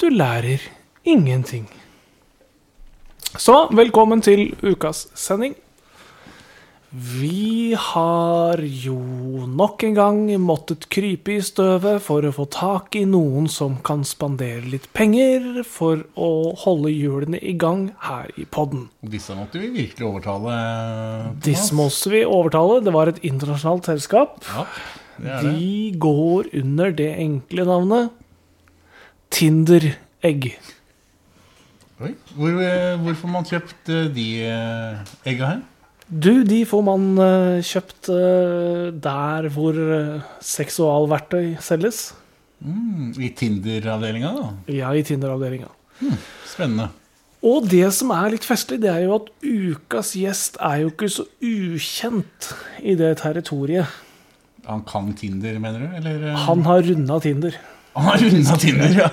Du lærer ingenting. Så velkommen til ukas sending. Vi har jo nok en gang måttet krype i støvet for å få tak i noen som kan spandere litt penger for å holde hjulene i gang her i podden. Disse måtte vi virkelig overtale. Thomas. Disse måtte vi overtale. Det var et internasjonalt selskap. Ja, det er det. Vi går under det enkle navnet Tinder-egg. Oi. Hvor, eh, hvorfor man kjøpt eh, de eh, egga her? Du, de får man eh, kjøpt eh, der hvor eh, seksualverktøy selges. Mm, I Tinder-avdelinga, da. Ja, i Tinder-avdelinga. Spennende. Og det som er litt festlig, det er jo at ukas gjest er jo ikke så ukjent i det territoriet. Han kan Tinder, mener du? Eller, eh, Han har runda Tinder. han har runda Tinder, ja!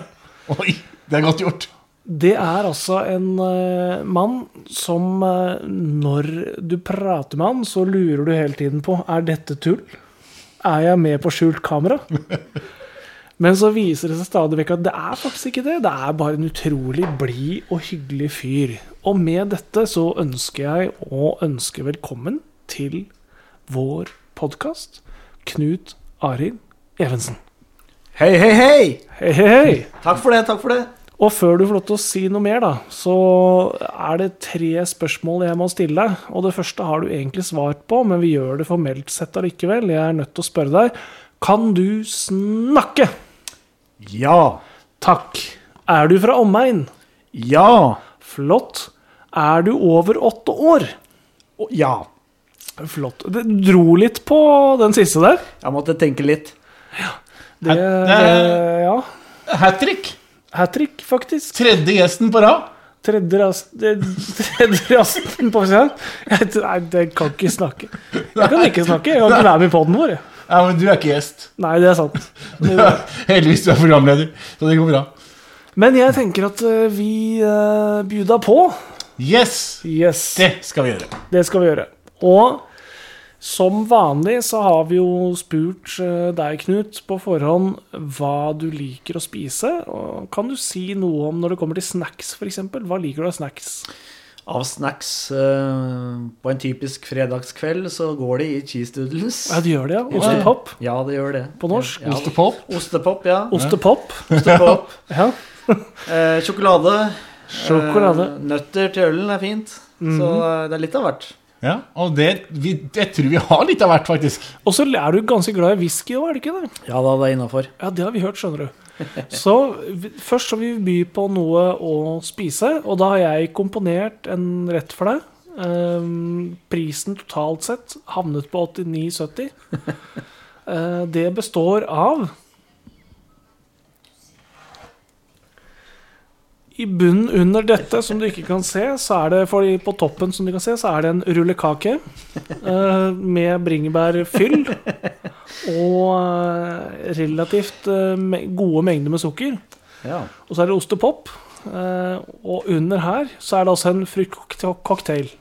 Oi, det er godt gjort. Det er altså en eh, mann som eh, når du prater med han, så lurer du hele tiden på Er dette tull. Er jeg med på skjult kamera? Men så viser det seg stadig vekk at det er faktisk ikke det. Det er bare en utrolig blid og hyggelig fyr. Og med dette så ønsker jeg å ønske velkommen til vår podkast, Knut Arild Evensen. Hei, hei, hei! Hei, hei, hei! Takk for det, takk for det. Og før du får lov til å si noe mer, da, så er det tre spørsmål jeg må stille deg. Og det første har du egentlig svart på, men vi gjør det formelt sett allikevel. Jeg er nødt til å spørre deg. Kan du snakke? Ja. Takk. Er du fra omegn? Ja. Flott. Er du over åtte år? Og ja. Flott. Det dro litt på den siste der. Jeg måtte tenke litt. Det, Hat- det ja. Hat trick! Hat trick, faktisk. Tredje gjesten på rad. Tredje ras- det- tredje rasten på siden. Jeg, nei, jeg kan ikke snakke. Jeg kan ikke snakke. Jeg kan ikke være med i poden vår. jeg. Ja, men du er ikke gjest. Nei, det er sant. Heldigvis du er programleder, så det går bra. Men jeg tenker at eh, vi uh, bjuda på. Yes! Yes, Det skal vi gjøre. det skal vi gjøre. Og som vanlig så har vi jo spurt eh, deg, Knut, på forhånd hva du liker å spise. Og kan du si noe om når det kommer til snacks, f.eks.? Hva liker du av snacks? Av snacks eh, på en typisk fredagskveld så går de i cheese doodles. Ja, du gjør det, ja. Ostepop. Ja, det gjør det. På norsk? Ja. Ostepop. Ostepop, ja. Ostepop. Ostepop. Ja. Eh, sjokolade. Sjokolade. Mhm. Eh, nøtter til ølen er fint. Så eh, det er litt av hvert. Ja, og det, vi, jeg tror vi har litt av hvert, faktisk. Og så er du ganske glad i whisky òg, er du ikke det? Ja da, det er innafor. Ja, det har vi hørt, skjønner du. Så vi, først skal vi by på noe å spise, og da har jeg komponert en rett for deg. Ehm, prisen totalt sett havnet på 89,70. Eh, det består av I bunnen under dette, som du ikke kan se, så er det for de på toppen som du kan se, så er det en rullekake eh, med bringebærfyll og eh, relativt eh, me- gode mengder med sukker. Ja. Og så er det ostepop. eh, Og under her så er det altså en fruktcocktail.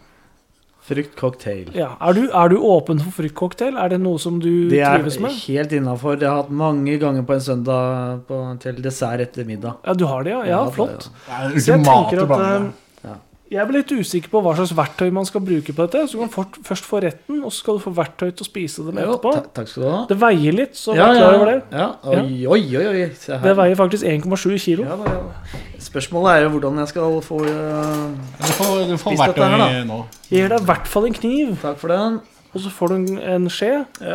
Fruktcocktail. Ja. Er, du, er du åpen for fruktcocktail? Er det noe som du Det er trives med? helt innafor. Det har jeg hatt mange ganger på en søndag på, til dessert etter middag. Ja, du har det, ja? Ja, Ja, det- flott. Det er Så jeg ultimate tenker at barnevern. eh, Ja. jeg ble litt usikker på hva slags verktøy man skal bruke på dette. Så du kan fort, først få retten, og så skal du få verktøy til å spise dem Jo, etterpå. ta- takk skal du ha. Det veier litt, så vær klar over det. Ja, oi, oi, oi, oi. Se her. Det veier faktisk 1,7 kilo. Ja, da, ja. da. Spørsmålet er jo hvordan jeg skal få eh, Du får, du får Spis verktøy dette her, da. nå. Jeg gir deg i hvert fall en kniv, Takk for den. og så får du en, en skje. Ja.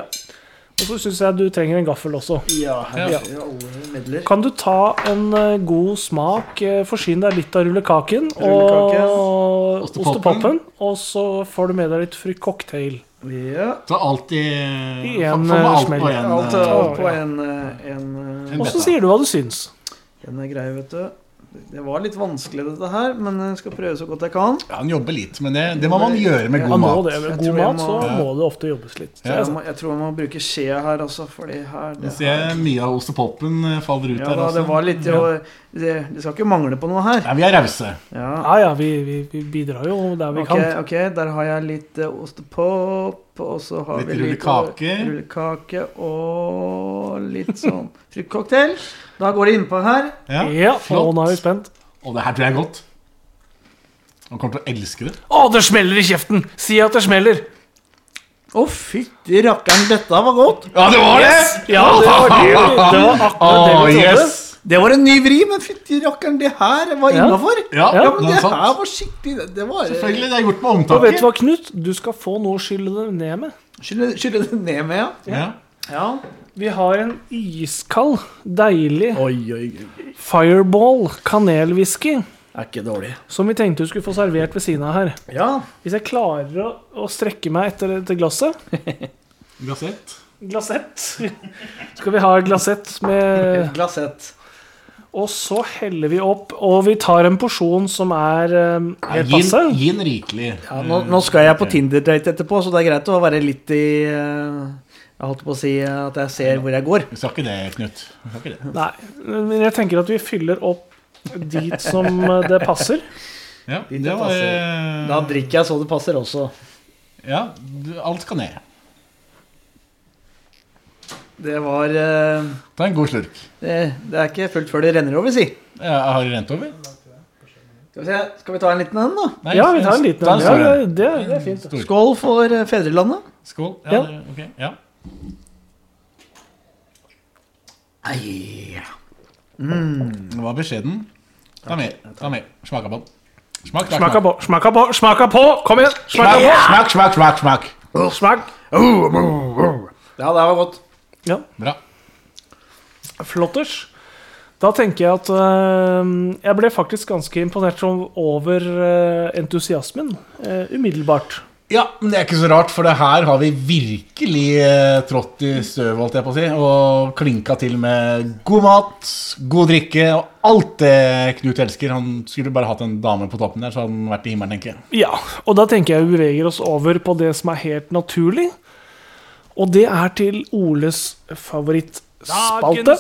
Og så syns jeg du trenger en gaffel også. Ja, her Ja. alle midler. Kan du ta en eh, god smak, eh, forsyne deg litt av rullekaken Rullekake. og Ostepoppen. ostepoppen, og så får du med deg litt fruktcocktail. Ja. Så alltid I en, får man alt smell. på en, Alt, eh, alt på ja. en, eh, en eh, En Og så beta. sier du hva du syns. Den er grei, vet du. Det var litt vanskelig, dette her, men jeg skal prøve så godt jeg kan. Ja, Han jobber litt, men det, det må man gjøre med Ja, nå god mat. det med Jeg god tror jeg mat, så må- må det ofte jobbes litt. Ja. Det er Jeg, sant. må, jeg tror jeg må bruke skjea her, altså, for det her Nå det ser jeg her- mye av ostepopen eh, faller ut Ja, her da, også. det var litt jo, det, det skal ikke mangle på noe her. Nei, vi er rause. Ja. Ja, ja, vi, vi, vi bidrar jo der vi Ok, kan. ok, der har jeg litt eh, ostepop, og så har Litt vi litt rullekake. rullekake og litt sånn fruktcocktail. Da går det innpå her. Ja. Ja, og flott. nå er vi spent. Og det her tror jeg er godt. Han kommer til å elske det. Å, det smeller i kjeften! Si at det smeller! Å, fytti rakkeren, dette var godt! Ja, det var det! Ja, det var, det, det var akkurat det Åh, vi trodde. yes! Det var en ny vri, men fytti rakkeren, det her var Ja. innafor! Ja, Ja, det men er det sant. her var skikkelig det- Det var Selvfølgelig, det er gjort med Og vet du omtanke. hva, Knut? Du skal få noe å skylle det ned med. Skylle skylle det ned med, ja. Ja. ja. Vi har en iskald, deilig Oi, oi, oi. fireball kanelwhisky Er ikke dårlig. som vi tenkte du skulle få servert ved siden av her. Ja. Hvis jeg klarer å, å strekke meg etter dette glasset Gasett. Glassett. Skal vi ha et glassett med Et glassett. Og så heller vi opp, og vi tar en porsjon som er eh, helt Gi passe. den- gi den rikelig. Ja, nå, nå skal jeg på Tinder-date etterpå, så det er greit å være litt i eh, Jeg holdt på å si eh, at jeg ser hvor jeg går. Vi sa ikke det, Knut. Vi sa ikke det. Nei, men jeg tenker at vi fyller opp dit som eh, det passer. Ja, Dit det jeg var passer. eh, Da drikker jeg så det passer også. Ja, du- alt skal ned. Det var eh, Ta en god slurk. det, det er ikke fullt før det renner over, si. Ja, har du rent over? Skal vi, se, skal vi ta en liten en, da? Nei, Ja, vi tar en liten ta en. Ja, stor det, en. det, det er fint. Stor. Skål for eh, fedrelandet. Skål. Ja. Ja, det- ok. Ja. Nei, ja. Den var beskjeden. Ta med. ta med. Smaka på den. Smak, smak, Smaka smak. på, smaka på, smaka på! Kom igjen! Smaka på! Smak, smak, smak, smak. Smak! Ja, det var godt. Ja, Bra. flotters. Da tenker jeg at eh, jeg ble faktisk ganske imponert som- over eh, entusiasmen eh, umiddelbart. Ja, men det er ikke så rart, for det her har vi virkelig eh, trådt i støv, holdt jeg på å si, og klinka til med god mat, god drikke og alt det Knut elsker. Han skulle bare hatt en dame på toppen der, så hadde han vært i himmelen, tenker jeg. Ja, og da tenker jeg vi beveger oss over på det som er helt naturlig. Og det er til Oles favorittspalte.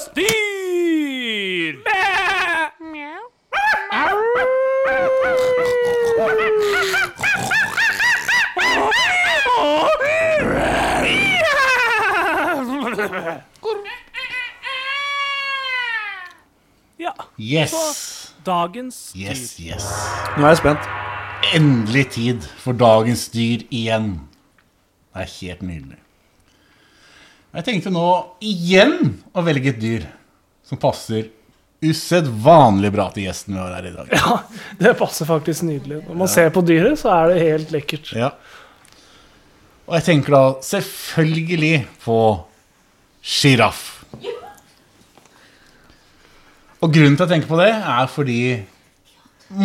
Meow. Ja, Yes, dagens yes, yes. Nå er jeg spent. Endelig tid for dagens dyr igjen. Det er helt nydelig. Jeg tenkte nå igjen å velge et dyr som passer usedvanlig bra til gjesten vi har her i dag. Ja, det passer faktisk nydelig. Når man ser på dyret, så er det helt lekkert. Ja. Og jeg tenker da selvfølgelig på sjiraff. Og grunnen til å tenke på det er fordi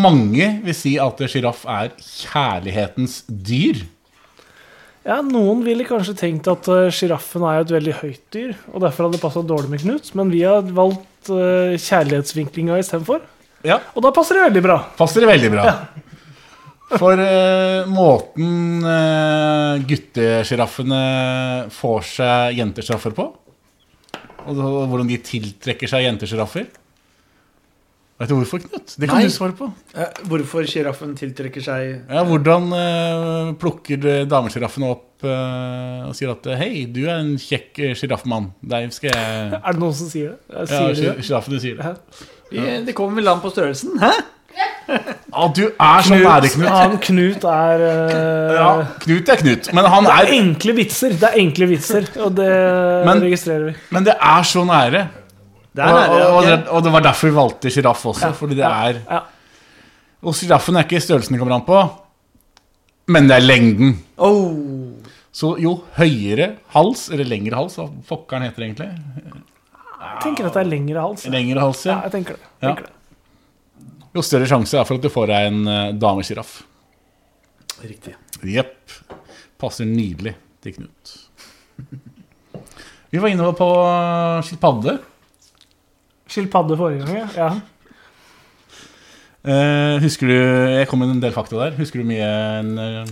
mange vil si at sjiraff er kjærlighetens dyr. Ja, Noen ville kanskje tenkt at eh, sjiraffen er jo et veldig høyt dyr, og derfor hadde det passa dårlig med Knut, men vi har valgt uh, kjærlighetsvinklinga istedenfor. Ja. Og da passer det veldig bra. Passer det veldig bra. For eh, måten uh, guttesjiraffene får seg jentesjiraffer på, og da, hvordan de tiltrekker seg jentesjiraffer Vet du hvorfor, Knut? Det kan Nei. du svare på. Eh, Hvorfor sjiraffen tiltrekker seg Ja, hvordan eh, plukker damesjiraffene opp eh, og sier at Hei, du er en kjekk eh, sjiraffmann. Deg skal jeg Er det noen som sier det? Jeg Ja, sier de det? sjiraffene sier det. Ja. Vi- Det kommer vel an på størrelsen. Hæ? Ja, du er sånn nære, Knut. Han Knut er eh, Ja, Knut er Knut, men han Det er er enkle vitser, det er enkle vitser, og det Men- registrerer vi. Men det er så nære. Der Og, er det. og, og, det, ok. og det var derfor vi valgte sjiraff også. Fordi det er Ja. Og sjiraffen er ikke størrelsen det kommer an på, men det er lengden. Oh. Så jo høyere hals, eller lengre hals, hva fokkeren heter det egentlig? Jeg tenker at det er lengre hals. Ja, Lengre hals, ja. jeg tenker det. Ja. Tenker det. Jo større sjanse er for at du får deg en eh, damesjiraff. Riktig. Jepp. Passer nydelig til Knut. Vi var inne på skilpadde. Skilpadde forrige gang, ja. ja. Eh, husker du Jeg kom med en del fakta der. Husker du mye en, eh,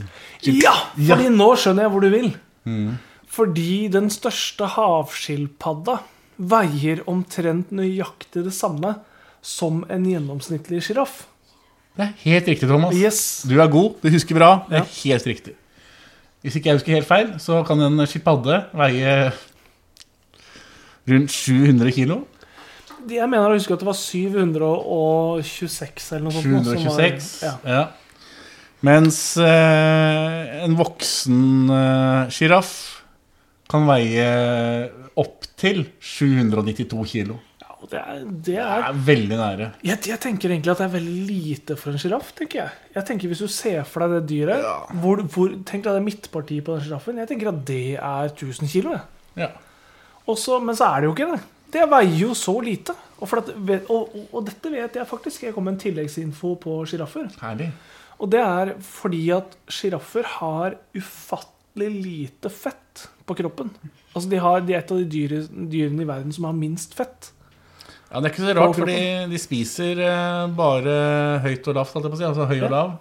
skil- Ja! Ja. Fordi nå skjønner jeg hvor du vil. Mm. Fordi den største havskilpadda veier omtrent nøyaktig det samme som en gjennomsnittlig sjiraff. Det er helt riktig, Thomas. Yes. Du er god, du husker bra. Det er Ja. helt riktig. Hvis ikke jeg husker helt feil, så kan en skilpadde veie rundt 700 kilo. Jeg mener å huske at det var 726 eller noe sånt. nå, sånn som var- 726. ja. Ja. Mens eh, en voksen eh, sjiraff kan veie opptil 792 kilo. Ja, og det er, det Det er er veldig nære. jeg, jeg tenker egentlig at det er veldig lite for en sjiraff, tenker jeg. Jeg tenker Hvis du ser for deg det dyret hvor, hvor, Tenk deg det midtpartiet på den sjiraffen. Jeg tenker at det er 1000 kilo. jeg. Ja. Og så- men så er det jo ikke det. Det veier jo så lite. Og, for at, ve- og, og, og dette vet jeg faktisk. Jeg kom med en tilleggsinfo på sjiraffer. Herlig. Og det er fordi at sjiraffer har ufattelig lite fett på kroppen. Altså de, har, de er et av de dyre, dyrene i verden som har minst fett. Ja, Det er ikke så rart, fordi de spiser eh, bare høyt og lavt, holdt jeg på å si. Altså høy og lav.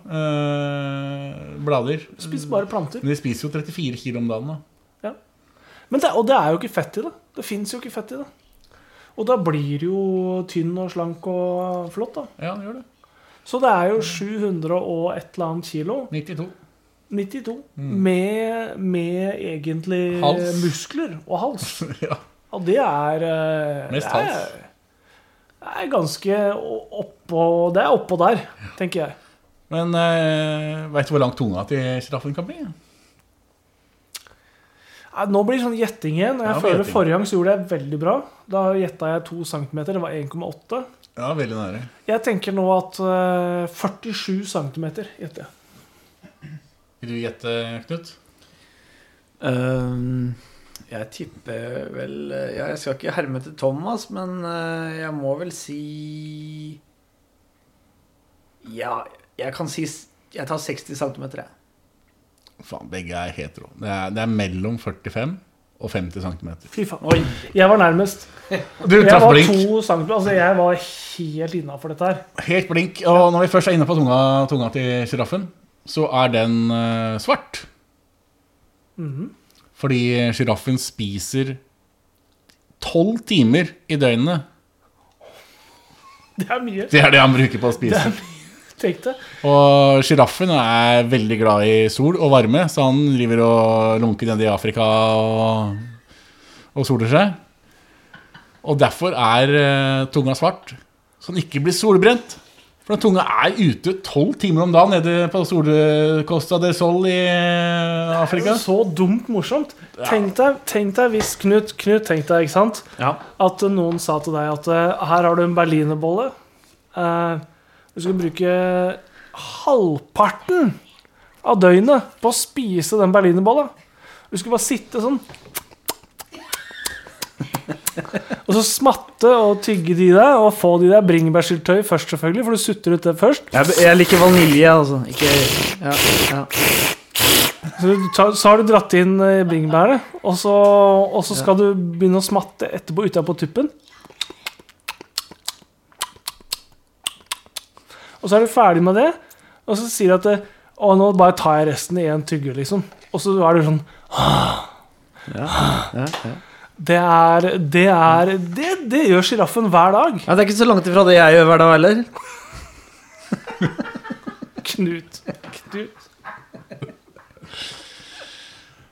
eh, blader. Spiser bare planter. Men de spiser jo 34 kilo om dagen, da. Ja. Men det, og det er jo ikke fett i det. Det fins jo ikke fett i det. Og da blir du jo tynn og slank og flott, da. Ja, de gjør det. Så det er jo 700 og et eller annet kilo, 92. 92, med, med egentlig Mm. Hals. muskler og hals. ja. Og det er eh, Mest det er- hals. Det er ganske oppå Det er oppå der, tenker jeg. Men uh, veit du hvor lang tunga til sjiraffen kan bli? Nei, Nå blir det sånn gjetting igjen. og Jeg Ja, det er føler gjetting. Forrige gang så gjorde jeg veldig bra. Da gjetta jeg 2 cm. Det var 1,8. Ja, veldig nære. Jeg tenker nå at eh, 47 cm gjetter jeg. Vil du gjette, Knut? Øhm, Ehm, jeg tipper vel ja, Jeg skal ikke herme til Thomas, men øh, jeg må vel si Ja, jeg kan si s- Jeg tar 60 cm, jeg. Faen, begge er helt rå. Det er, det er mellom 45 og 50 cm. Fy faen. Oi! Jeg var nærmest. Du Jeg traff var blink. 2 cm. Altså, jeg var helt innafor dette her. Helt blink. Og når vi først er inne på tunga, tunga til sjiraffen, så er den eh, svart. Mhm. Fordi sjiraffen spiser tolv timer i døgnet. Det er mye. Det er det han bruker på å spise. Tenk det. Og sjiraffen er veldig glad i sol og varme, så han driver og lunker nede i Afrika og, og soler seg. Og derfor er eh, tunga svart, så den ikke blir solbrent. For den tunga er ute tolv timer om dagen nede på Solcosta del Sol i eh, Afrika. Så dumt morsomt. Tenk deg, tenk deg hvis Knut, Knut tenk deg, ikke sant? Ja. At eh, noen sa til deg at eh, her har du en berlinerbolle. Eh, du skal bruke halvparten av døgnet på å spise den berlinerbolla. Du skal bare sitte sånn Og så smatte og tygge de der, og få de der bringebærsyltetøy først, selvfølgelig, for du sutter ut det først. Jeg, jeg liker vanilje, altså. Ikke ja, ja. Så, du tar, så har du dratt inn eh, bringebærene, og så, og så skal du begynne å smatte etterpå utapå tuppen. Og så er du ferdig med det, og så sier du at eh, å, nå bare tar jeg resten i en tygger, liksom. Og så er du sånn Ja, ja. Det er Det, er, det, det gjør sjiraffen hver dag. Ja, det er ikke så langt ifra det jeg gjør hver dag heller. Knut. Knut.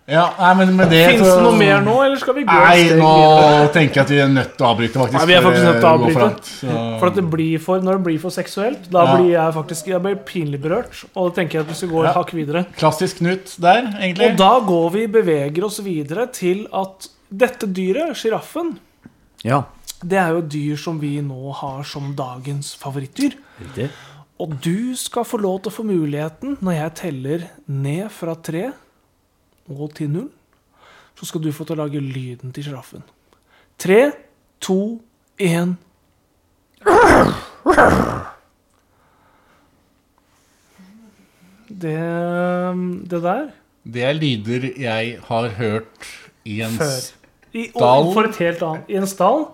Ja, nei, men med det Fins det så- noe mer nå, eller skal vi gå et Nei, steg nå videre? tenker jeg at vi er nødt til å avbryte, faktisk. Nei, vi er faktisk nødt til å for det går for langt, så- For at det blir for, Når det blir for seksuelt, da Ja. blir jeg faktisk jeg blir pinlig berørt. Og da tenker jeg at vi skal gå et Ja. hakk videre. Klassisk Knut der, egentlig. Og da går vi, beveger oss videre til at dette dyret, sjiraffen, Ja. det er jo et dyr som vi nå har som dagens favorittdyr. Riktig. Og du skal få lov til å få muligheten, når jeg teller ned fra tre og til null, så skal du få til å lage lyden til sjiraffen. Tre, to, én Det, det der Det er lyder jeg har hørt i en Før. I, Stall. for et helt annet. I en stall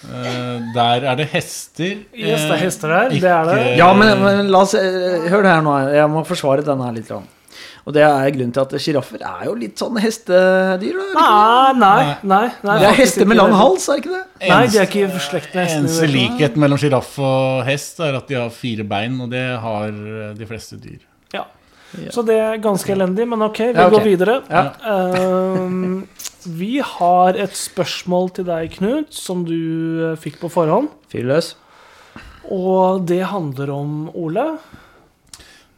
Eh, der er det hester. Yes, det er eh, hester der, det ikke- er det. Ja, men, men la oss eh, Hør det her nå. Jeg må forsvare denne her litt. grann. Og det er grunnen til at sjiraffer er jo litt sånn hestedyr. da, er det ikke Ah, Nei, nei, nei, nei det? Det er faktisk hester med ikke lang det. hals, er det ikke det? Nei, de er ikke i slekt med hestene. i det Eneste hele tatt. likhet mellom sjiraff og hest er at de har fire bein, og det har eh, de fleste dyr. Ja. Så det er ganske elendig, men ok, vi Ja, ok. går videre. Ja. Ehm, vi har et spørsmål til deg, Knut, som du eh, fikk på forhånd. Fyr løs. Og det handler om Ole.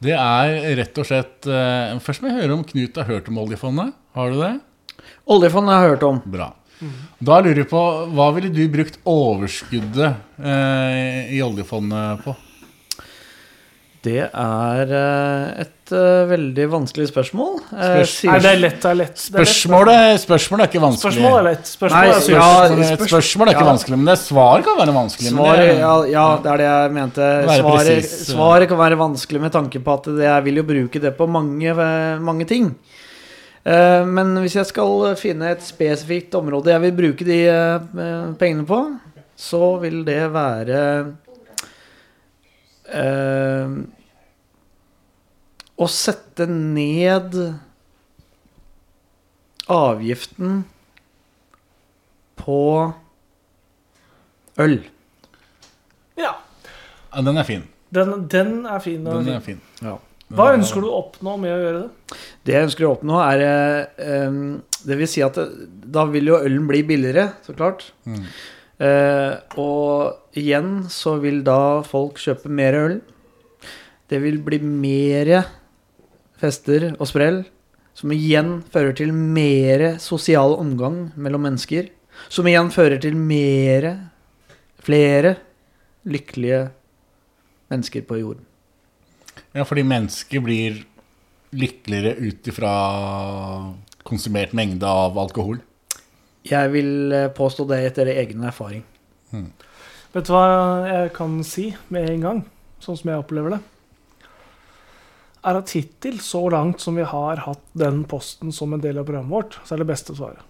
Det er rett og slett eh, Først må jeg høre om Knut har hørt om oljefondet. Har du det? Oljefond har jeg hørt om. Bra. Mhm. Da lurer jeg på Hva ville du brukt overskuddet eh, i oljefondet på? Det er eh, et eh, veldig vanskelig spørsmål. Eh, Spørs- Nei, sier- det er lett, det er lett. Det er lett. Spørsmålet, spørsmålet er ikke vanskelig. Spørsmål er lett. Spørsmål Nei, er ja, lett. Spørsmålet- et spørsmål er ikke ja. vanskelig, men det svar kan være vanskelig. men Svaret, det- ja, ja, det er det jeg mente. Være Svaret, presis. svaret kan være vanskelig med tanke på at det, jeg vil jo bruke det på mange, eh, mange ting. Eh, Men hvis jeg skal finne et spesifikt område jeg vil bruke de eh, pengene på, så vil det være eh, Å sette ned avgiften på øl. Ja, Ja, den er fin. den, den er fin. Den Den er er fin. fin. Ja. Hva ønsker du å oppnå med å gjøre det? Det jeg ønsker å oppnå, er eh, em, Det vil si at det, da vil jo ølen bli billigere, så klart. Mm. Eh, og igjen så vil da folk kjøpe mer øl. Det vil bli mer fester og sprell, som igjen fører til mer sosial omgang mellom mennesker. Som igjen fører til mere, flere lykkelige mennesker på jorden. Ja, fordi mennesket blir lykkeligere ut ifra konsumert mengde av alkohol. Jeg vil eh, påstå det etter egen erfaring. Vet du hva jeg kan si med en gang, sånn som jeg opplever det? Er at hittil, så langt som vi har hatt den posten som en del av programmet vårt, så er det beste svaret.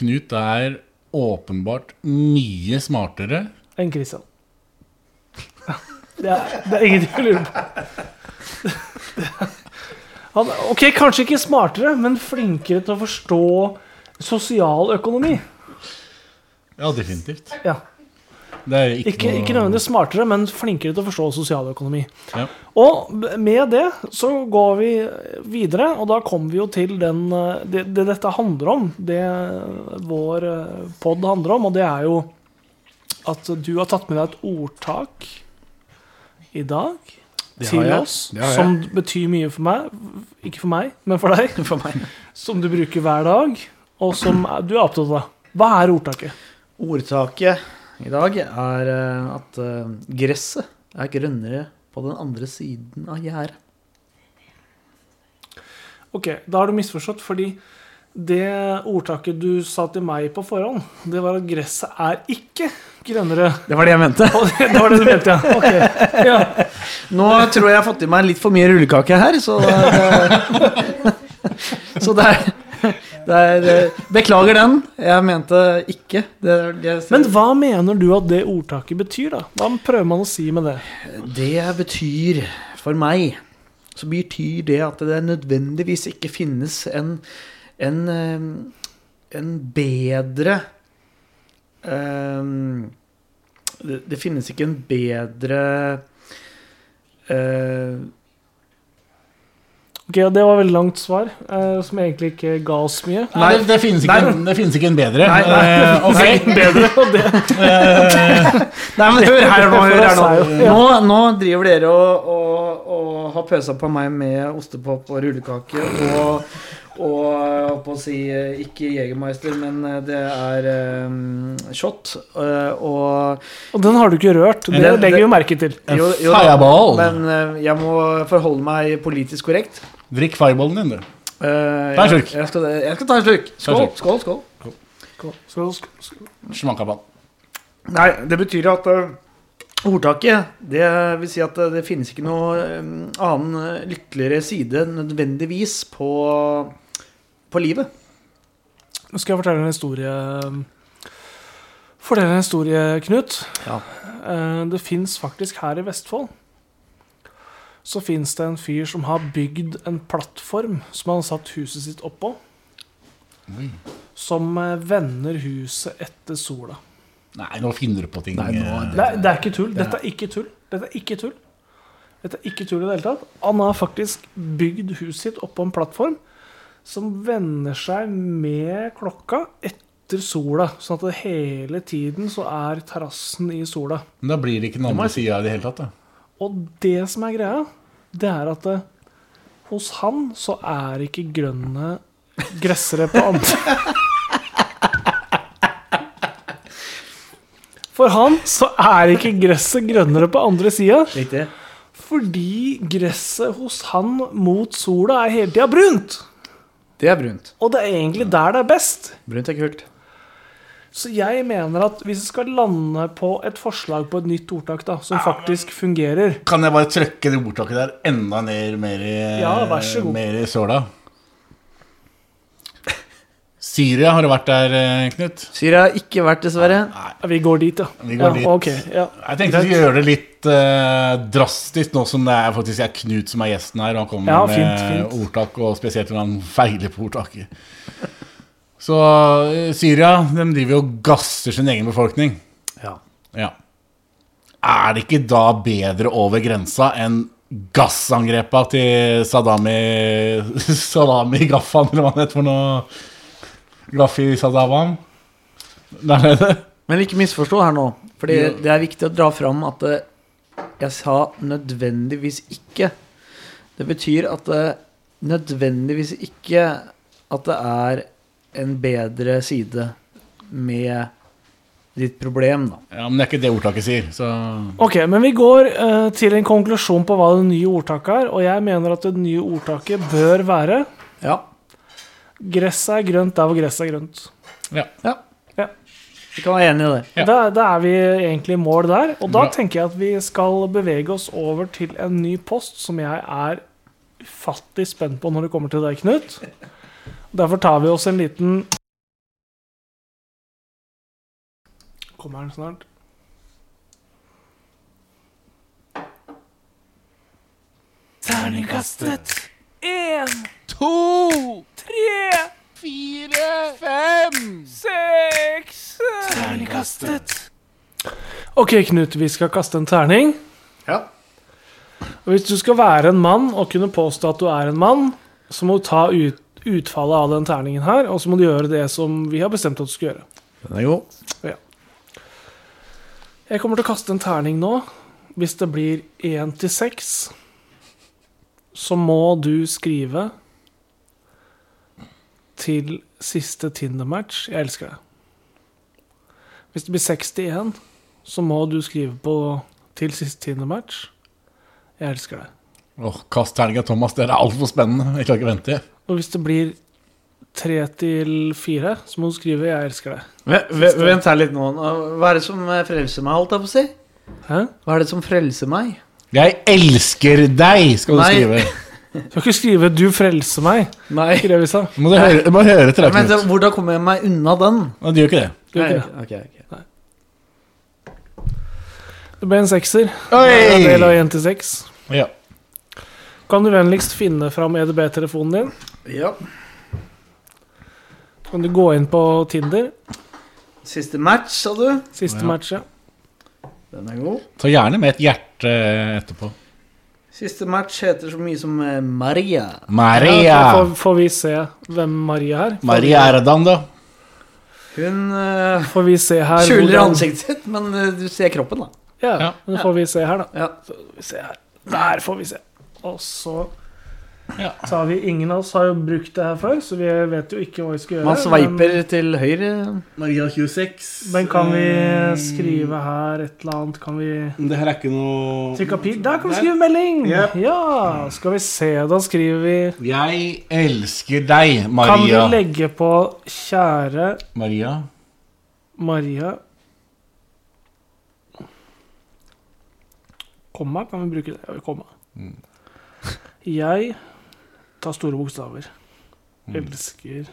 Knut er åpenbart mye smartere. Enn Christian. Det er, det er ingenting å lure på. Han, ok, kanskje ikke smartere, men flinkere til å forstå sosial økonomi. Ja, definitivt. Ja. Det er ikke, Ikke, ikke nødvendigvis smartere, men flinkere til å forstå sosialøkonomi. Ja. Og b- med det så går vi videre, og da kommer vi jo til den, eh, det, det dette handler om. Det eh, vår pod handler om, og det er jo at du har tatt med deg et ordtak i dag Det har til jeg. oss Det har jeg. som betyr mye for meg. Ikke for meg, men for deg. For meg. Som du bruker hver dag, og som er- du er opptatt av. Hva er ordtaket? Ordtaket i dag er eh, at eh, gresset er grønnere på den andre siden av gjerdet. Ok, da har du misforstått, fordi det ordtaket du sa til meg på forhånd, det var at gresset er ikke grønnere. Det var det jeg mente. Og det, det var det du mente, ja. Ok, ja. Nå tror jeg jeg har fått i meg litt for mye rullekake her, så eh, Så det er, det er eh, Beklager den. Jeg mente ikke. Det, er det, jeg sier. Men hva mener du at det ordtaket betyr, da? Hva prøver man å si med det? det betyr for meg Så betyr det at det nødvendigvis ikke finnes en en, eh, en bedre eh, det, det finnes ikke en bedre eh, Ok, og Det var veldig langt svar, eh, som egentlig ikke ga oss mye. Nei, det, det, finnes ikke, en- det finnes ikke en bedre. Nei, nei. Eh, ok. Bedre, og det Nei, men hør her nå. Hør her nå. For oss er jo- nå, nå driver dere og, og, og har pøsa på meg med ostepop og rullekake og og jeg holdt på å si eh, ikke Jegermeister, men eh, det er eh, shot. eh, og Og den har du ikke rørt. Det Det- legger vi jo merke til. En jo- jo da, fireball. Men eh, jeg må forholde meg politisk korrekt. Drikk fireballen din, du. Eh, Ta en jeg, slurk. jeg, skal, jeg skal ta en slurk. Skål, slurk. skål, skål. Så, så, Smakaball. Nei, det betyr at eh, ordtaket Det vil si at eh, det finnes ikke noe eh, annen eh, lykkeligere side nødvendigvis på, på livet. Nå skal jeg fortelle en historie fortelle en historie, Knut. Ja. Eh, Det fins faktisk her i Vestfold Så fins det en fyr som har bygd en plattform som han har satt huset sitt oppå. Oi. Som eh, vender huset etter sola. Nei, nå finner du på ting. Nei, nå er eh, Nei, det er ikke tull. Dette er ikke tull. Dette er ikke tull. Dette er ikke tull i det hele tatt. Han har faktisk bygd huset sitt oppå en plattform som vender seg med klokka etter sola. Sånn at det hele tiden så er terrassen i sola. Men da blir det ikke den andre sida i det hele tatt, da. Og det som er greia, det er at eh, hos han så er ikke grønne gressere på andre. For han så er ikke gresset grønnere på andre sida, Riktig. fordi gresset hos han mot sola er hele tida brunt. Det er brunt. Og det er egentlig der det er best. Brunt er kult. Så jeg mener at hvis vi skal lande på et forslag på et nytt ordtak da, som faktisk fungerer Kan jeg bare trykke det ordtaket der enda ned mer i, Ja, vær så god. mer i såla? Syria har du vært der, eh, Knut. Syria har ikke vært, dessverre. Vi går dit, ja. Vi ja, går dit. ok, ja. Jeg tenkte vi skulle gjøre det litt eh, drastisk, nå som det er faktisk er Knut som er gjesten her. Og han kommer Ja, med fint, fint. ordtak, og spesielt når han feiler på ordtaket. Så eh, Syria de driver jo og gasser sin egen befolkning. Ja. Ja. Er det ikke da bedre over grensa enn gassangrepa til Saddam i Saddam i Gaffan, eller hva det heter for noe? Gaffi Saddam? Der nede? Men ikke misforstå her nå. Fordi det er viktig å dra fram at eh, jeg sa nødvendigvis ikke. Det betyr at det nødvendigvis ikke at det er en bedre side med ditt problem, da. Ja, men det er ikke det ordtaket sier, så Ok, men vi går eh, til en konklusjon på hva det nye ordtaket er, og jeg mener at det nye ordtaket bør være Ja. Gresset er grønt der hvor gresset er grønt. ja. ja. Ja. Vi kan være enig i det. Ja. Da, da er vi egentlig i mål der, og da Bra. tenker jeg at vi skal bevege oss over til en ny post som jeg er ufattelig spent på når det kommer til deg, Knut. Derfor tar vi oss en liten Kommer den snart? Terningkastet én, to, tre, seks Terningkastet. Ok, Knut, vi skal kaste en terning. Ja. Og Hvis du skal være en mann og kunne påstå at du er en mann, så må du ta ut, utfallet av den terningen her, og så må du gjøre det som vi har bestemt at du skal gjøre. Den er god. Jeg kommer til å kaste en terning nå. Hvis det blir én til seks, så må du skrive til siste Tinder-match. Jeg elsker deg. Hvis det blir seks til én, så må du skrive på til siste Tinder-match. Jeg elsker deg. Åh, Kast terninga, Thomas. Det er altfor spennende. Jeg klarer ikke å vente. Og hvis det blir tre til fire, så må du skrive 'jeg elsker deg'. Vent her litt nå. Nå- Hva er det som eh, frelser meg, holdt jeg på å si? Hæ? Hva er det som frelser meg? Jeg elsker deg, skal du Nei. skrive. Du skal ikke skrive 'du frelser meg', Nei. ikke det vi sa. Må du høre, må høre etter, da, Men så, Knut. hvordan kommer jeg meg unna den? Nei, Du gjør ikke det. Du gjør ikke det. Ok, ok. Det ble en sekser. Det er Del av Oi! én til seks. Ja. Kan du vennligst finne fram EDB-telefonen din? Ja. Kan du gå inn på Tinder? Siste match, sa du? Siste Ja. match, ja. Den er god. Ta gjerne med et hjerte etterpå. Siste match heter så mye som eh, Maria. Maria! Da Får, får vi se hvem Maria er? Får Maria vi- Erdan, da. Hun eh, Får vi se her skjuler hvordan- ansiktet sitt, men eh, du ser kroppen, da. Ja, Ja. men får vi se her, da. Ja. Får vi se her. Der får vi se. Og så Ja. tar vi Ingen av oss har jo brukt det her før, så vi vet jo ikke hva vi skal gjøre. Man sveiper men- til høyre. Maria 26. Men kan vi skrive her et eller annet? Kan vi Det her er ikke noe trykke opp pil? Der kan vi skrive melding! Yep. Ja! Skal vi se, da skriver vi Jeg elsker deg, Kan vi Maria. legge på 'Kjære Maria. Maria Komma, kan vi bruke det? Ja, komma. Mm. Jeg tar store bokstaver. Mm. Elsker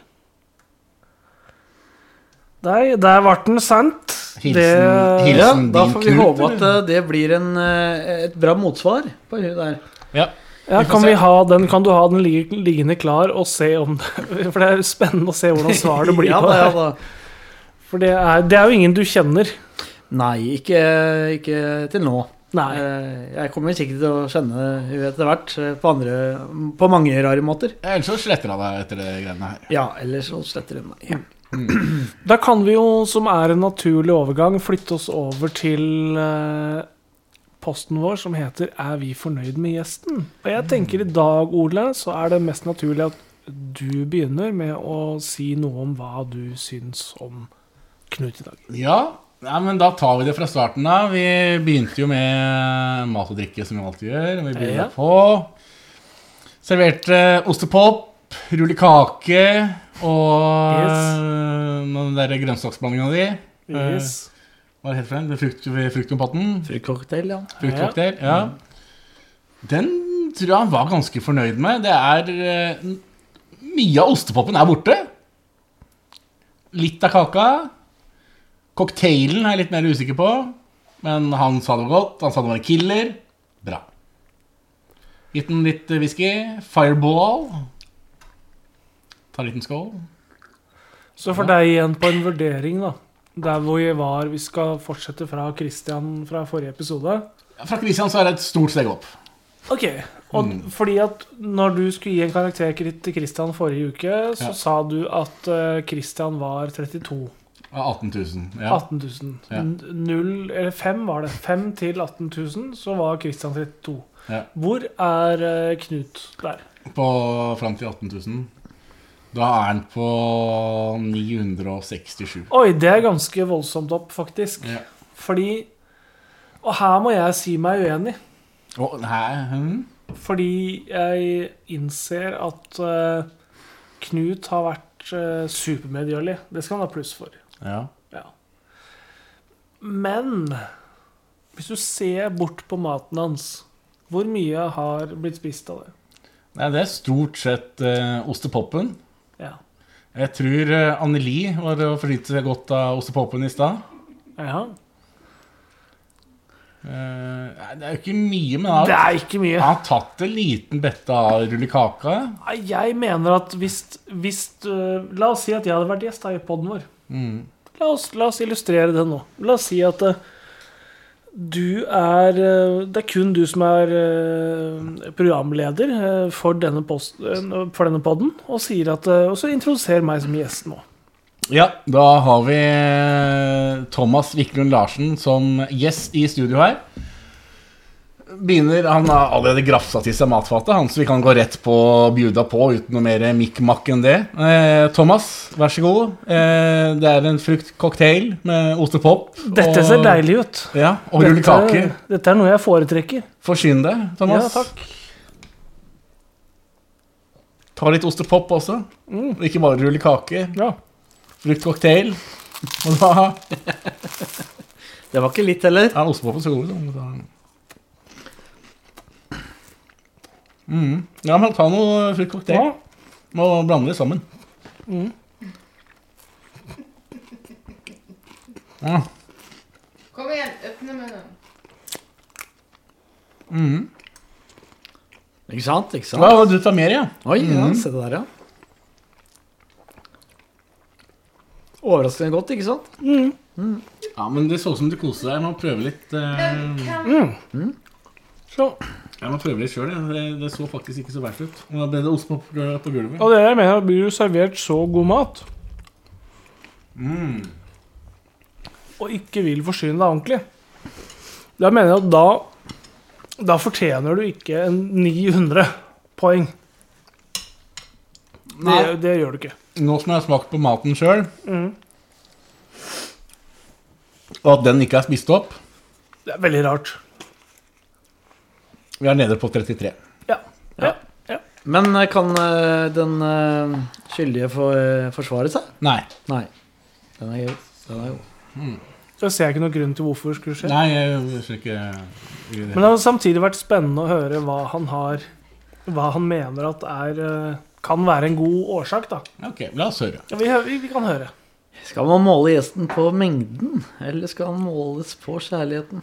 deg. Der ble den sendt. Hilsen, det, hilsen ja, din da får vi Knut, håpe at eller? eh, det blir en, eh, et bra motsvar på hun der. Ja. Ja, Vi får kan, se. vi ha den, kan du ha den lig- liggende klar og se om det For det er spennende å se hvordan svaret blir. ja, på da, det ja, her. da. For det er, det er jo ingen du kjenner. Nei, ikke, ikke til nå. Nei. Eh, Jeg kommer sikkert til å kjenne hun etter hvert eh, på, andre, på mange rare måter. Ellers så sletter han deg etter det greiene her. Ja, eller så sletter hun meg. Da kan vi jo, som er en naturlig overgang, flytte oss over til eh, posten vår som heter 'Er vi fornøyd med gjesten?' Og jeg tenker i dag, Ole, så er det mest naturlig at du begynner med å si noe om hva du syns om Knut i dag. Ja, nei, men da tar vi det fra starten av. Vi begynte jo med mat og drikke, som vi alltid gjør. Vi begynner Ja. på Serverte eh, ostepop, rullekake og Yes. øh, noen der grønnsaksblandinga di. Yes. Hva er det helt for en? Frukt, fruktkompatten? Fruktcocktail, ja. Fruktcocktail, ja. Den tror jeg han var ganske fornøyd med. Det er eh, n- Mye av ostepopen er borte. Litt av kaka. Cocktailen er jeg litt mer usikker på. Men han sa det var godt. Han sa det var en killer. Bra. Gitt den litt eh, whisky. Fireball. Ta en liten skål. Så for deg igjen på en vurdering, da. Der hvor vi var Vi skal fortsette fra Christian fra forrige episode. Fra Christian så er det et stort steg opp. Ok, og Mm. fordi at når du skulle gi en karakterkritt til Christian forrige uke, så Ja. sa du at eh, Christian var 32. Av 18 000. Ja. 18 000. Ja. N- Null, eller 5 var det. 5 til 18 000, så var Christian 32. Ja. Hvor er eh, Knut der? på fram til 18 000. Da er han på 967. Oi, det er ganske voldsomt opp, faktisk. Ja. Fordi Og her må jeg si meg uenig. Å, nei, hm? Fordi jeg innser at eh, Knut har vært eh, supermedgjørlig. Det skal han ha pluss for. Ja. Ja. Men hvis du ser bort på maten hans, hvor mye har blitt spist av det? Nei, det er stort sett eh, ostepopen. Ja. Jeg tror eh, Anneli var og forsynte seg godt av ostepopen i stad. ja. Eh, nei, det er jo ikke mye, men han Det har- er ikke mye. han har tatt en liten bette av rullekaka. Nei, Jeg mener at hvis, hvis øh, La oss si at jeg hadde vært gjest da i poden vår. Mm. La, oss, la oss illustrere det nå. La oss si at øh, du er øh, Det er kun du som er øh, programleder øh, for denne, post, øh, for denne poden, og sier at øh, Og så introduser meg som gjest nå. Ja, da har vi eh, Thomas Wiklund Larsen som gjest i studio her. Begynner, Han har allerede grafsa til seg matfatet, han, så vi kan gå rett på og bjuda på uten noe mer mikk-makk enn det. Eh, Thomas, vær så god. Eh, det er en fruktcocktail med ostepop. Dette ser deilig ut. Ja, Og rullekake. Dette, dette er noe jeg foretrekker. Forsyn deg, Ja, Thomas. takk. Ta litt ostepop også. Og Ikke bare rullekake. Mm. Ja. Fruktcocktail. Og da er Det var ikke litt heller. ostepopen så god. liksom, Så. Mm. Ja, men ta noe fruktcocktail. Ja. Må blande det sammen. Ja. Kom igjen, åpne munnen. Mm. Ikke sant? ikke Ja, sant? og du tar mer, ja? Oi, ja, Mhm. se det der, ja. Overraskende godt, ikke sant? Ja, men Det så ut som du koste deg. Jeg må prøve litt Mm. eh, Men kan Mm. Så. Jeg må prøve litt sjøl. Det, så faktisk ikke så verst ut. Og da ble det ostepop på gulvet. Og dere mener at blir jo servert så god mat Mm. Og ikke vil forsyne deg ordentlig Da mener jeg at da Da fortjener du ikke en 900 poeng det, Nei. det gjør du ikke Mm. Nå som jeg har smakt på maten sjøl, og at den ikke er spist opp Det er veldig rart Vi er nede på 33. Ja, ja, ja. Men eh, kan eh, den eh, skyldige få eh, forsvare seg? Nei. Nei. Den er, den er jo Så ser jeg ikke noen grunn til hvorfor det skulle skje Nei, jeg skjønner ikke Men det har samtidig vært spennende å høre hva han har Hva han mener at er eh, Kan være en god årsak da Ok, la oss høre. ja, vi, hø- vi, vi kan høre Skal man måle gjesten på mengden, eller skal han måles på kjærligheten?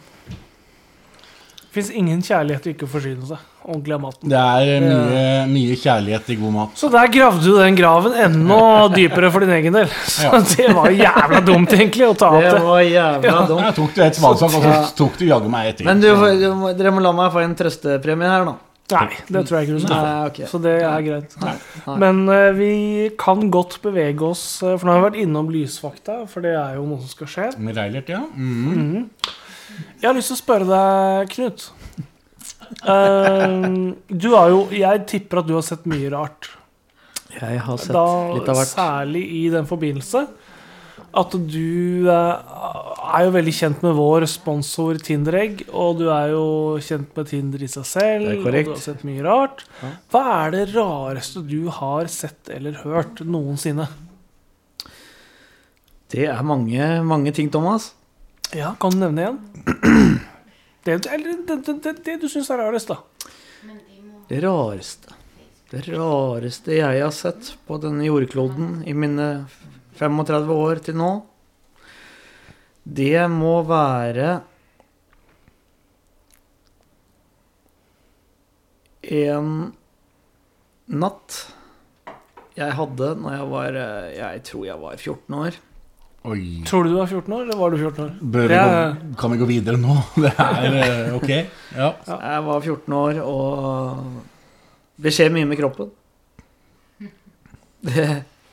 Fins ingen kjærlighet til ikke å forsyne seg ordentlig av maten. Det er mye, mye kjærlighet i god mat. Så der gravde du den graven enda dypere for din egen del. Så Ja. det var jo jævla dumt, egentlig, å ta opp Det det. var jævla dumt. Jeg tok du et smalsak, og så Ja. tok du jaggu meg etter. Men du, du må- dere må la meg få en trøstepremie her, da. Nei, det tror jeg ikke du skal Nei, ok. få. Så det er greit. Nei. Nei. Men eh, vi kan godt bevege oss, eh, for nå har vi vært innom lysfakta, for det er jo noe som skal skje. Med Reilert, ja. Mhm. Mhm. Jeg har lyst til å spørre deg, Knut. Eh, du har jo Jeg tipper at du har sett mye rart. Jeg har sett litt Da, av hvert. særlig i den forbindelse at du eh, er jo veldig kjent med vår sponsor Tinderegg, og du er jo kjent med Tinder i seg selv. Det er og du korrekt. har sett mye rart. Ja. Hva er det rareste du har sett eller hørt noensinne? Det er mange, mange ting, Thomas. Ja, Kan du nevne en? Det, eller det, det, det, det du syns er rarest, da. Men de må Det rareste Det rareste jeg har sett på denne jordkloden i mine 35 år til nå, det må være En natt jeg hadde når jeg var eh, Jeg tror jeg var 14 år. Oi. Tror du du var 14 år, eller var du 14 år? Bør vi Det gå, er- kan vi gå videre nå? Det er eh, ok. Ja. Ja. Jeg var 14 år, og det skjer mye med kroppen. Det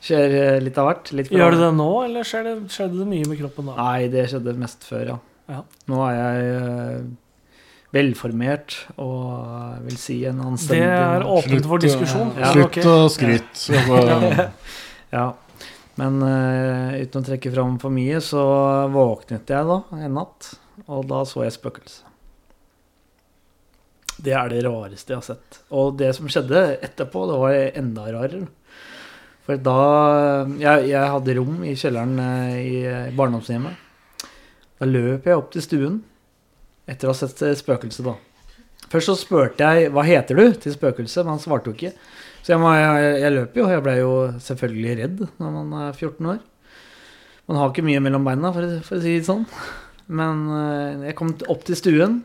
skjer eh, litt av hvert. Litt fra- Gjør du det nå, eller skjer det, skjedde det mye med kroppen da? Nei, det skjedde mest før, ja. Ja. Nå er jeg eh, velformert og vil si en Det anstendig er mann. åpent for diskusjon. Ja. så ok. Slutt å skryte. Og- Ja. Men eh, uten å trekke fram for mye, så våknet jeg da en natt, og da så jeg spøkelse. Det er det rareste jeg har sett. Og det som skjedde etterpå, det var enda rarere. For da Jeg, jeg hadde rom i kjelleren eh, i, i barndomshjemmet. Da løp jeg opp til stuen etter å ha sett eh, spøkelset, da. Først så spurte jeg 'Hva heter du?' til spøkelset, men han svarte jo ikke. Så jeg, må, jeg, jeg løper jo, og jeg ble jo selvfølgelig redd når man er 14 år. Man har ikke mye mellom beina, for, å- for å si det sånn. Men eh, jeg kom t- opp til stuen,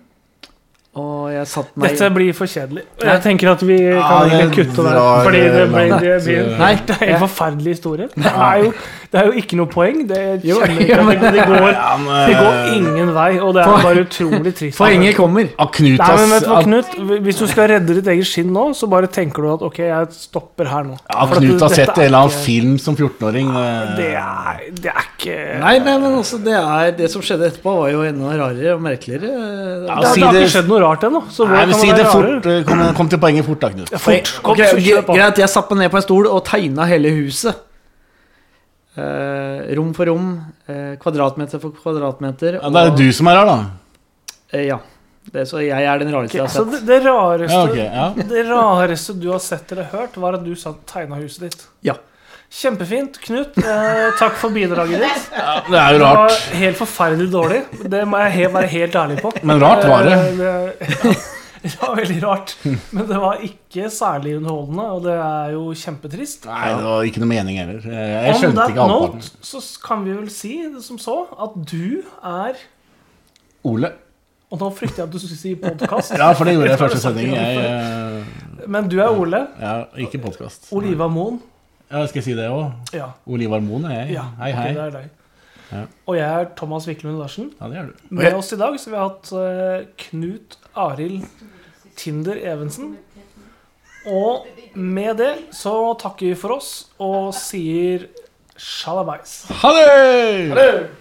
og jeg satte meg Dette blir for kjedelig. Nei. Jeg tenker at vi kan Ja, egentlig det kutte der. drar, Fordi det eh, blir, det langt, blir eh, Nei, Nei, det er en forferdelig historie. Det er jo, det er jo ikke noe poeng. Det Jo, kjenner jo, ikke men- at det- det går, Ja, men, eh, det går ingen vei, og det er Poeng- bare utrolig trist. Poenget kommer. Ah, Knut, Nei, men vet ass. du hva, At, Knut? Hvis du skal redde ditt eget skinn nå, så bare tenker du at ok, jeg stopper her nå. at For at Knut har dette sett en er eller annen ikke- film som 14-åring. eh, Det er, det er ikke Nei, nei, men også det, er, det som skjedde etterpå, var jo enda rarere og merkeligere. Ja, Det, si det har det- ikke skjedd noe rart ennå. Så Nei, hvordan men kan si det det være fort. rarere? eh, Kom, kom til poenget fort, da, Knut. Fort, kom, Ok, kjør på. greit, jeg satt meg ned på en stol og tegna hele huset. Eh, rom for rom, eh, kvadratmeter for kvadratmeter. Ja, det er og- du som er her, da. Eh, ja. Det, så jeg er den Ok, rareste jeg har så sett. det, det rareste Ja, ok, ja. Det rareste du har sett eller hørt, var at du satt og tegna huset ditt. Ja. Kjempefint. Knut, eh, takk for bidraget ditt. Ja, det er jo Det var rart. helt forferdelig dårlig. Det må jeg he- være helt ærlig på. Men rart var det. Eh, det, ja, det var veldig rart. Men det var ikke særlig underholdende, og det er jo kjempetrist. Nei, det var ikke noe mening heller. Eh, Jeg On skjønte that ikke halvparten. note så s- kan vi vel si som så at du er Ole. Og nå frykter jeg at du skulle si podkast, Ja, for det gjorde jeg i Det har du første sagt sending. Jeg, ikke men du er Ole. eh, ja, ikke podkast. Oliva Moen. Ja, skal jeg si det òg? Ja. Olivar Moen er jeg. Ja, Hei, ok, hei. det er deg. Ja. Og jeg er Thomas Wiklund Larsen. Ja, det er du. Med oss i dag så vi har hatt eh, Knut Arild Tinder Evensen. Og med det så takker vi for oss og sier sjalabais. Ha det! Ha det!